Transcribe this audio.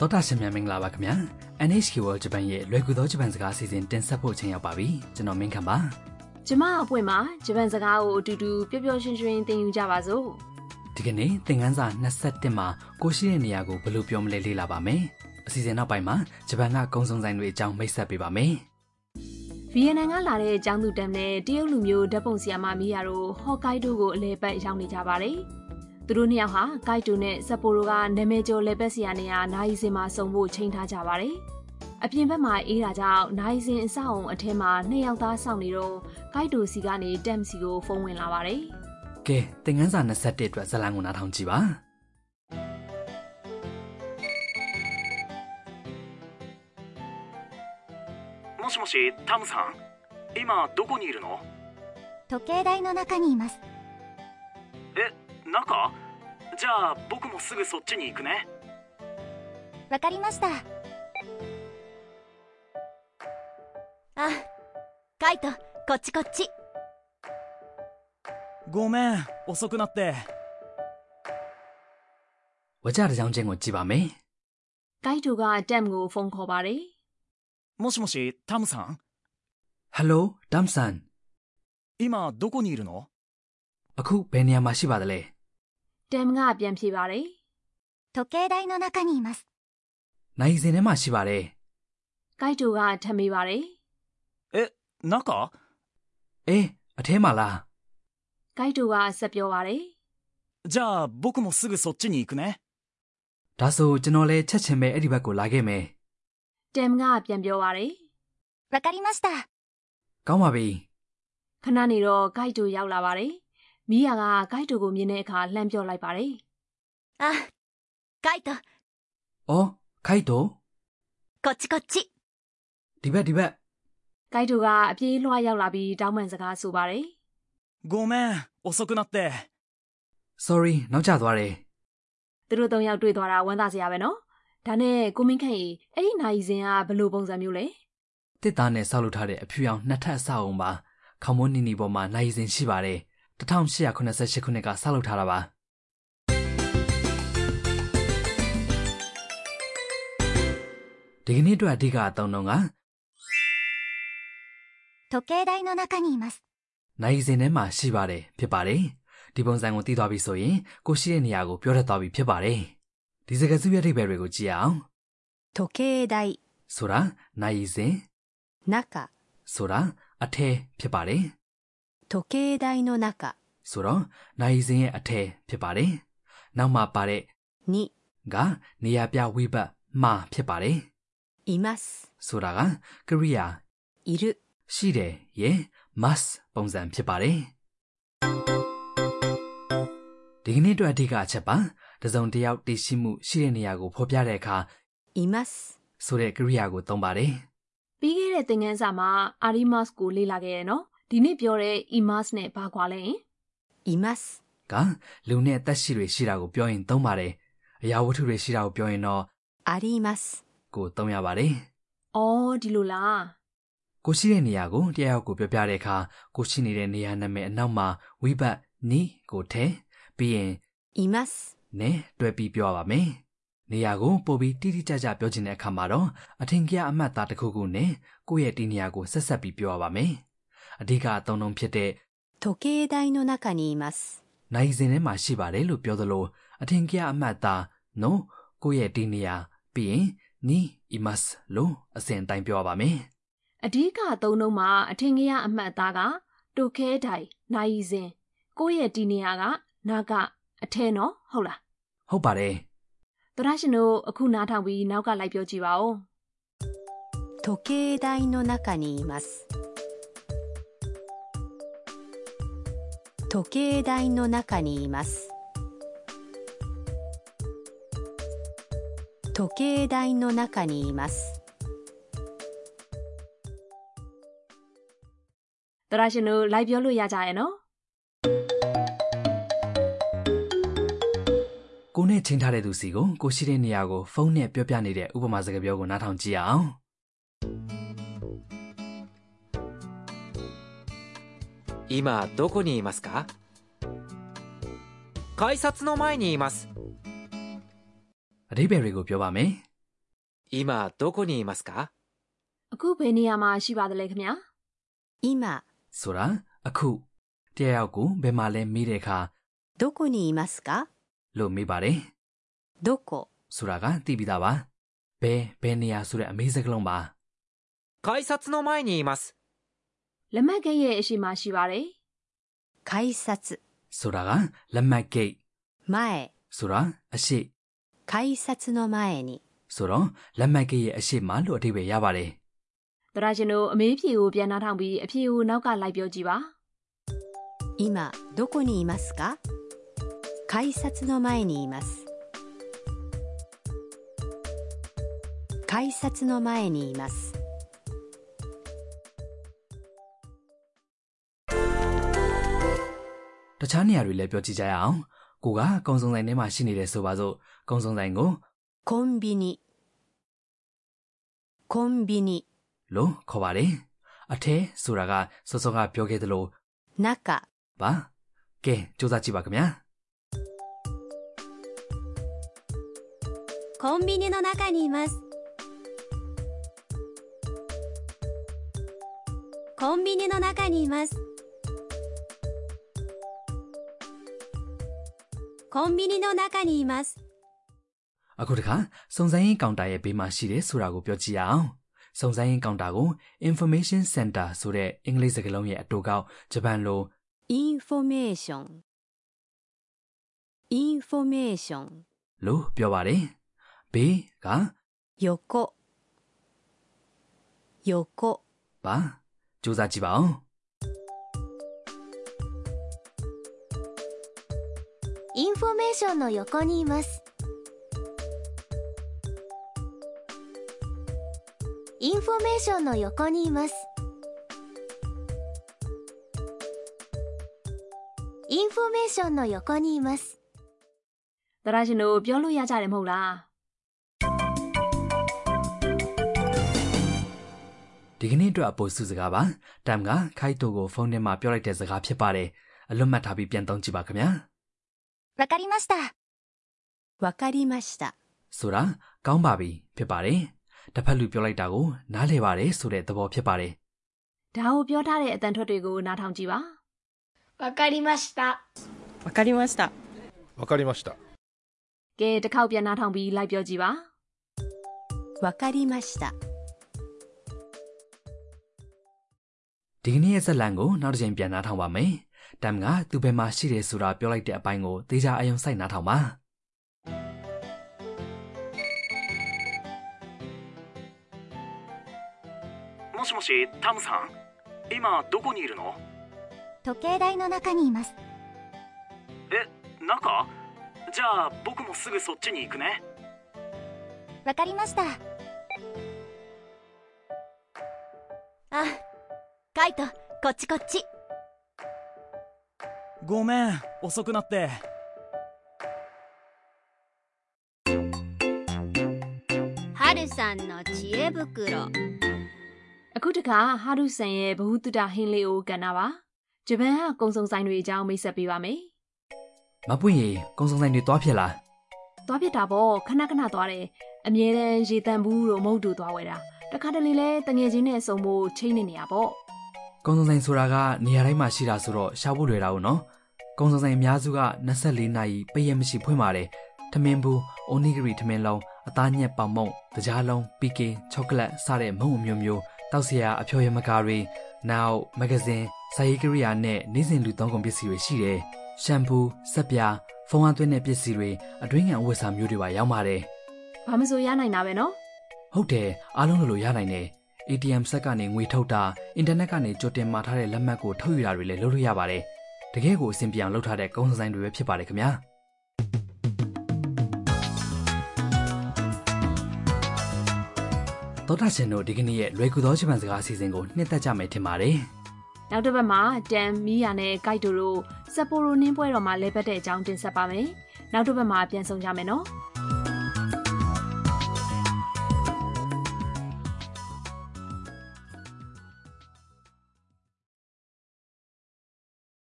တောတာရှင်များမင်္ဂလာပါခင်ဗျာ NHK World Japan ရဲ့လွယ်ကူသောဂျပန်စကားအစီအစဉ်တင်ဆက်ဖို့အချိန်ရောက်ပါပြီကျွန်တော်မင်းခမ်းပါ ကျမအပွင့်မှာဂျပန်စကားကိုအတူတူပျော်ပျော်ရွှင်ရွှင်သင်ယူကြပါစို့ ဒီကနေ့သင်ခန်းစာ21မှာကိုရှိတဲ့နေရာကိုဘယ်လိုပြောမလဲလေ့လာပါမယ်အစီအစဉ်နောက်ပိုင်းမှာဂျပန်ကကုန်းစုံဆိုင်တွေအကြောင်းမိတ်ဆက်ပေးပါမယ် ဗီယက်နမ်ကလာတဲ့အကြောင်းသူတမ်နဲ့တရုတ်လူမျိုးဓာတ်ပုံဆရာမမီယာတို့ဟော့ကိုက်ဒိုကိုအလဲပတ်ရောက်နေကြပါတယ်သူတို့နှစ်ယောက်ဟာကိုက်ဒိုနဲ့ဇက်ပိုရိုကနာမည်ကျော်လဲပတ်ဆရာနေရာနိုင်စင်မှာစုံဖို့ချိန်ထားကြပါတယ်အပြင်ဘက်မှာအေးတာကြောင့်နိုင်စင်အဆောက်အုံအထက်မှာနှစ်ယောက်သားစောင့်နေတော့ကိုက်ဒိုစီကနေတမ်စီကိုဖုန်းဝင်လာပါတယ် ကဲသင်ခန်းစာ21အတွက်ဇာတ်လမ်းကိုနားထောင်ကြည့်ပါ もしもしタムさん今どこにいるの時計台の中にいますえ中じゃあ僕もすぐそっちに行くねわかりましたあカイトこっちこっちごめん遅くなって ဝကြတစ်ကြောင်းချင်းကိုကြည့်ပါမယ် ကိုက်ဒိုကတမ်ကိုဖုန်းခေါ်ပါတယ် もしもしタムさん ဟယ်လိုဒမ်ဆန် 今どこにいるの အခုဘယ်နေရာမှာရှိပါသလဲ တမ်ကပြန်ဖြေပါတယ် 時計台の中にいます နိုင်စင်ထဲမှာရှိပါတယ် ကိုက်တိုကထပ်မေးပါတယ် え中 အေးအထဲမှာလား ။ကိုက်တိုကဆက်ပြောပါတယ် じゃあ僕もすぐそっちに行くね ဒါဆိုကျွန်တော်လည်းချက်ချင်းပဲအဲ့ဒီဘက်ကိုလာခဲ့မယ် ။တမ်ကပြန်ပြောပါတယ် わかりました ကောင်းပါပြီ ။ခဏနေတော့ကိုက်တိုရောက်လာပါတယ်။မီးယာကကိုက်တိုကိုမြင်တဲ့အခါလှမ်းပြောလိုက်ပါတယ် あカイト ။အော်ခိုက်တော့ こっちこっち ဒီဘက်ဒီဘက် ။ကိုက်တိုကအပြေးလွှားရောက်လာပြီးတောင်းပန်စကားဆိုပါတယ် ごめん遅くなって sorry နောက်ကျသွားတယ် ။သူတို့သုံးယောက်တွေ့သွားတာဝမ်းသာစရာပဲနော်။ဒါနဲ့ကိုမင်းခန့်ရေအဲ့ဒီနိုင်စင်ကဘယ်လိုပုံစံမျိုးလဲ ။တစ်သားနဲ့ဆောက်လုပ်ထားတဲ့အဖြူရောင်နှစ်ထပ်အဆောက်အုံပါ။ခေါမွန်းနီနီပေါ်မှာနိုင်စင်ရှိပါတယ်။1888ခုနှစ်ကဆောက်လုပ်ထားတာပါ။ဒီကနေ့အတွက်အဓိကအသုံးတော့က 時計台の中にいます နိုင်စင်ထဲမှာရှိပါတယ်ဖြစ်ပါတယ်။ဒီပုံစံကိုသိသွားပြီဆိုရင်ကိုရှိတဲ့နေရာကိုပြောတတ်သွားပြီဖြစ်ပါတယ်။ဒီစကားစုရဲ့အဓိပ္ပာယ်တွေကိုကြည့်ရအောင် 時計台 ။ဆိုတာနိုင်စင် 中 ဆိုတာအထဲဖြစ်ပါတယ်။ 時計台の中 ဆိုတော့နိုင်စင်းရဲ့အထည်ဖြစ်ပါတယ်။နောက်မှာပါတဲ့ に ကနေရာပြဝိဘတ်မှာဖြစ်ပါတယ် います ။ဆိုတာကကရိယာ いる ရှိတယ်ရဲ့ must ပုံစံဖြစ်ပါတယ်။ဒီကနေ့အတွက်အဓိကအချက်ပါတစ်စုံတစ်ယောက်တည်ရှိမှုရှိတဲ့နေရာကိုဖော်ပြတဲ့အခါ います ဆိုတဲ့ကရိယာကိုသုံးပါတယ် ။ပြီးခဲ့တဲ့သင်ခန်းစာမှာအာရီမတ်စ်ကိုလေ့လာခဲ့ရနော်။ဒီနေ့ပြောတဲ့ imas နဲ့ဘာကွာလဲဟင် います ။ကလူနဲ့တက်ရှိတွေရှိတာကိုပြောရင်သုံးပါတယ်။အရာဝတ္ထုတွေရှိတာကိုပြောရင်တော့ あります ကိုသုံးရပါတယ်။ ။အော်ဒီလိုလား။ ကိုရှိတဲ့နေရာကိုတရားရောက်ကိုပြောပြတဲ့အခါကိုရှိနေတဲ့နေရာနာမည်အနောက်မှာဝိဘတ်နီကိုထည့်ပြီးရင် います နဲ့တွဲပြီးပြောပါမယ်။နေရာကိုပို့ပြီးတိတိကျကျပြောချင်တဲ့အခါမှာတော့အထင်ကြီးအမှတ်သားတစ်ခုခုနဲ့ကိုယ့်ရဲ့ဒီနေရာကိုဆက်ဆက်ပြီးပြောပါမယ်။အဓိကအသုံးလုံးဖြစ်တဲ့ 時計台の中にいます နိုင်စင်ထဲမှာရှိပါတယ်လို့ပြောသလိုအထင်ကြီးအမှတ်သားနော်ကိုယ့်ရဲ့ဒီနေရာပြီးရင်နီအီမတ်လို့အစဉ်အတိုင်းပြောပါမယ်။ အဓိကသုံးလုံးမှာအထင်ကြီးရအမှတ်အသားကတိုခဲတိုင်နိုင်စင်ကိုယ့်ရဲ့ဒီနေရာကနာကအထဲနော်ဟုတ်လား ဟုတ်ပါတယ်။ သရရှင်တို့အခုနားထောင်ပြီးနောက်ကလိုက်ပြောကြည့်ပါဦး 時計台の中にいます時計台の中にいます時計台の中にいます သရရှင်တို့လိုက်ပြောလို့ရကြရဲ့နော် ကိုနဲ့ချင်းထားတဲ့သူစီကိုကိုရှိတဲ့နေရာကိုဖုန်းနဲ့ပြောပြနေတဲ့ဥပမာစကားပြောကိုနားထောင်ကြည့်အောင် 今どこにいますか改札の前にいます အဓိပ္ပာယ်တွေကိုပြောပါမယ် 今どこにいますか အခုဘယ်နေရာမှာရှိပါသလဲခင်ဗျာ 今、 ဆိုတာအခုတရားရောက်ကိုဘယ်မှာလဲမေးတဲ့အခါ どこにいますか လို့မေးပါတယ် どこ、 ဆိုတာကသိပြီးသားပါဘယ်ဘယ်နေရာဆိုတဲ့အမေးစကားလုံးပါ 改札の前にいます。 လက်မှတ်ကဲရဲ့အရှိမရှိပါတယ် 改札、 ဆိုတာကလက်မှတ်ဂိတ် 前、 ဆိုတာအရှိ 改札の前に、 ဆိုတော့လက်မှတ်ဂိတ်ရဲ့အရှိမှလို့အဓိပ္ပာယ်ရပါတယ် တရာရှင်တို့အမေးဖြေကိုပြန်နှားထောင်ပြီးအဖြေကိုနောက်ကလိုက်ပြောကြည့်ပါ 今、どこにいますか改札の前にいます。改札の前にいます。 တခြားနေရာတွေလည်းပြောကြည့်ကြရအောင်ကိုကကုံစုံဆိုင်ထဲမှာရှိနေတယ်ဆိုပါစို့ကုံစုံဆိုင်ကို コンビニ、コンビニ、 လို့ခေါ်ပါတယ်အထဲဆိုတာကစောစောကပြောခဲ့သလို 中、 ပါကဲစူးစမ်းကြည့်ပါခင်ဗျာ コンビニの中にいますコンビニの中にいますコンビニの中にいます အခုတခါစုံစမ်းရေးကောင်တာရဲ့ဘေးမှာရှိတယ်ဆိုတာကိုပြောကြည့်ရအောင်စုံစမ်းရေးကောင်တာကို information center ဆိုတဲ့အင်္ဂလိပ်စကားလုံးရဲ့အတူကောက်ဂျပန်လို インフォメーション、インフォメーション、 လို့ပြောပါတယ်ဘေးက 横、横、 ပါစူးစမ်းကြည့်ပါအောင် インフォメーションの横にいますインフォメーションの横にいますインフォメーションの横にいます တရာရှင်တို့ပြောလို့ရကြတယ်မဟုတ်လား ဒီကနေ့အတွက်အပိုစုစကားပါတမ်ကခိုက်တိုကိုဖုန်းထဲမှာပြောလိုက်တဲ့စကားဖြစ်ပါတယ်အလွတ်မှတ်ထားပြီးပြန်သုံးကြည့်ပါခင်ဗျာ わかりました。わかりました。 ဆိုတာကောင်းပါပြီဖြစ်ပါတယ်တစ်ဖက်လူပြောလိုက်တာကိုနားလည်ပါတယ်ဆိုတဲ့သဘောဖြစ်ပါတယ် ဒါကိုပြောထားတဲ့အတန်ထွက်တွေကိုနားထောင်ကြည့်ပါ わかりました。わかりました。わかりました。 ကဲတစ်ခေါက်ပြန်နှားထောင်ပြီးလိုက်ပြောကြည့်ပါ わかりました。 ဒီကနေ့ရဲ့ဇက်လန်ကိုနောက်တစ်ချိန်ပြန်နှားထောင်ပါမယ်။တမ်ကသူဘယ်မှာရှိတယ်ဆိုတာပြောလိုက်တဲ့အပိုင်းကိုသေချာအယုံစိုက်နှားထောင်ပါ もしもしタムさん今どこにいるの時計台の中にいます。え中じゃあ僕もすぐそっちに行くねわかりました。あ、カイト、こっちこっち。ごめん遅くなってハルさんの知恵袋。 အခုတခါဟာရုဆန်ရဲ့ဘ ഹു တုတဟင်းလေးကိုကန်နာပါဂျပန်ကကုံစုံဆိုင်တွေအကြောင်းမိတ်ဆက်ပေးပါမယ် ။မပွင့်ရေကုံစုံဆိုင်တွေတွားဖြစ်လား သွားပြစ်တာပေါ့ခဏခဏသွားတယ်အမြဲတမ်းရေတံဘူးတို့မဟုတ်တို့သွားဝဲတာတခါတလေလဲတငယ်ချင်းနဲ့ဆုံဖို့ချိန်နေနေရပေါ့ ။ကုံစုံဆိုင်ဆိုတာကနေရာတိုင်းမှာရှိတာဆိုတော့ရှားဖို့လွယ်တာဘူးနော်။ကုံစုံဆိုင်အများစုက24နာရီပိတ်ရက်မရှိဖွင့်ပါတယ်။ထမင်းဘူး၊အိုနီဂရီထမင်းလုံး၊အသားညက်ပေါင်မုံ၊တကြားလုံး၊ပီကင်၊ချောကလက်စတဲ့မုံအမျိုးမျိုး၊တောက်စရာအဖျော်ရမကာတွေ၊နောက်မဂဇင်း၊ဇာယီကရိယာနဲ့နေ့စဉ်လူသုံးကုန်ပစ္စည်းတွေရှိတယ်။ရှမ်ပူ၊စက်ပြာ၊ဖုန်းအသွင်းတဲ့ပစ္စည်းတွေအတွင်းငံအဝတ်အစားမျိုးတွေပါရောက်ပါတယ်။ ဘာမဆိုရနိုင်တာပဲနော် ဟုတ်တယ်အားလုံးလိုလိုရနိုင်တယ် ATM ဆက်ကနေငွေထုတ်တာအင်တာနက်ကနေကြိုတင်မှာထားတဲ့လက်မှတ်ကိုထုတ်ယူတာတွေလည်းလုပ်လို့ရပါတယ်တကယ်ကိုအဆင်ပြေအောင်လုပ်ထားတဲ့ကုန်းစံဆိုင်တွေပဲဖြစ်ပါတယ်ခင်ဗျာတော်တာရှင်တို့ဒီကနေ့ရဲ့လွယ်ကူသောဂျပန်စကားအစီအစဉ်ကိုနှစ်သက်ကြမယ်ထင်ပါတယ် နောက်တစ်ပတ်မှာတမ်မီယာနဲ့ဂိုက်တိုတို့စက်ပိုရိုနင်းပွဲတော်မှာလဲပတ်တဲ့အကြောင်းတင်ဆက်ပါမယ်နောက်တစ်ပတ်မှာပြန်ဆောင်ကြမယ်နော်